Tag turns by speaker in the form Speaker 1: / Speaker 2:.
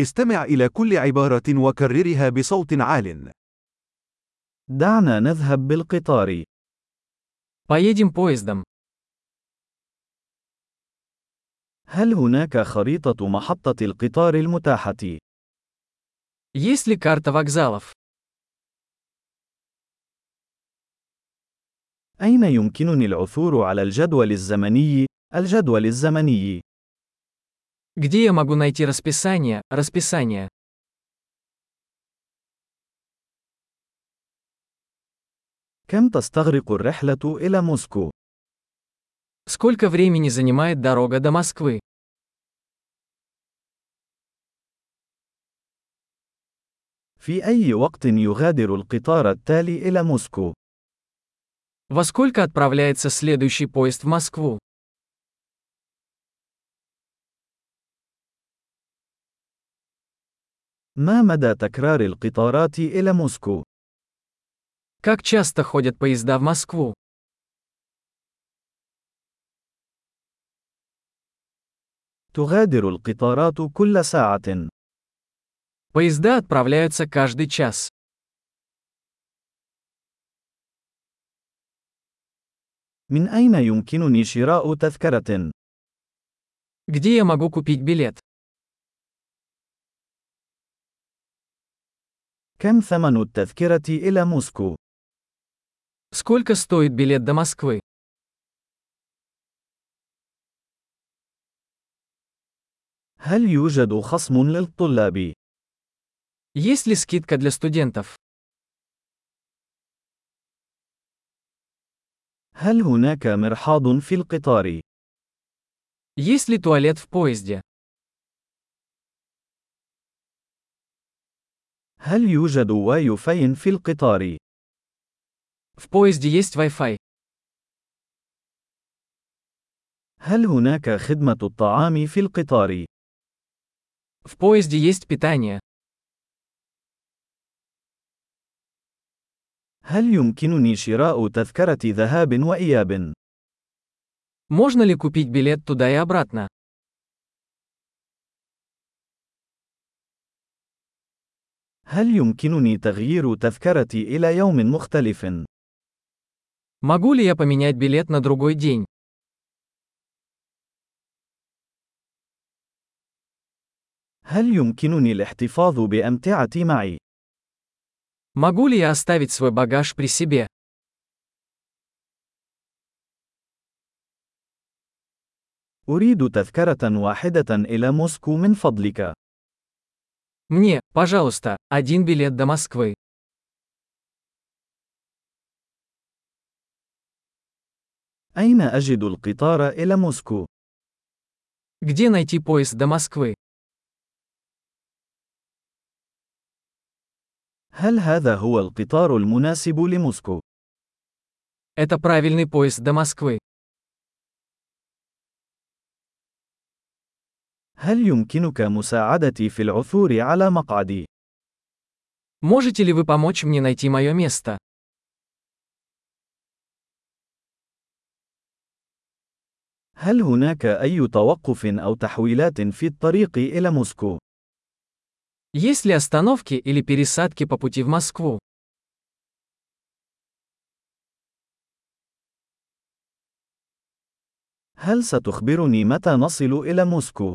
Speaker 1: استمع إلى كل عبارة وكررها بصوت عال.
Speaker 2: دعنا نذهب بالقطار.
Speaker 3: Поедем поездом.
Speaker 2: هل هناك خريطة محطة القطار المتاحة؟
Speaker 3: Есть ли карта вокзалов?
Speaker 2: أين يمكنني العثور على الجدول الزمني؟ الجدول الزمني.
Speaker 3: Где я могу найти расписание, расписание?
Speaker 2: كم تستغرق الرحلة إلى موسكو؟
Speaker 3: Сколько времени занимает дорога до Москвы?
Speaker 2: في أي وقت يغادر القطار التالي إلى موسكو؟
Speaker 3: Во сколько отправляется следующий поезд в Москву?
Speaker 2: ما مدى تكرار القطارات إلى موسكو؟
Speaker 3: Как часто ходят поезда в Москву?
Speaker 2: تغادر القطارات كل ساعة.
Speaker 3: Поезда отправляются каждый час.
Speaker 2: من أين يمكنني شراء تذكرة؟
Speaker 3: Где я могу купить билет?
Speaker 2: كم ثمن التذكرة إلى موسكو؟
Speaker 3: Сколько стоит билет до Москвы?
Speaker 2: هل يوجد خصم للطلاب؟
Speaker 3: Есть ли скидка для студентов?
Speaker 2: هل هناك مرحاض في القطار؟
Speaker 3: Есть ли туалет в поезде?
Speaker 2: هل يوجد واي فاي في القطار؟
Speaker 3: В поезде есть Wi-Fi.
Speaker 2: هل هناك خدمة الطعام في القطار؟
Speaker 3: В поезде есть питание.
Speaker 2: هل يمكنني شراء تذكرة ذهاب وإياب؟
Speaker 3: Можно ли купить билет туда и обратно?
Speaker 2: هل يمكنني تغيير تذكرتي إلى يوم مختلف؟
Speaker 3: Могу ли я поменять билет на другой день?
Speaker 2: هل يمكنني الاحتفاظ بأمتعتي معي؟
Speaker 3: Могу ли я оставить свой багаж при себе?
Speaker 2: أريد تذكرة واحدة إلى موسكو من فضلك.
Speaker 3: Мне, пожалуйста, один билет до Москвы.
Speaker 2: أين أجد القطار إلى موسكو؟
Speaker 3: Где найти поезд до Москвы?
Speaker 2: هل هذا هو القطار المناسب لموسكو؟
Speaker 3: Это правильный поезд до Москвы.
Speaker 2: هل يمكنك مساعدتي في العثور على مقعدي؟
Speaker 3: Можете ли вы помочь мне найти мое место?
Speaker 2: هل هناك أي توقف أو تحويلات في الطريق إلى موسكو؟
Speaker 3: Есть ли остановки или пересадки по пути в Москву?
Speaker 2: هل ستخبرني متى نصل إلى موسكو؟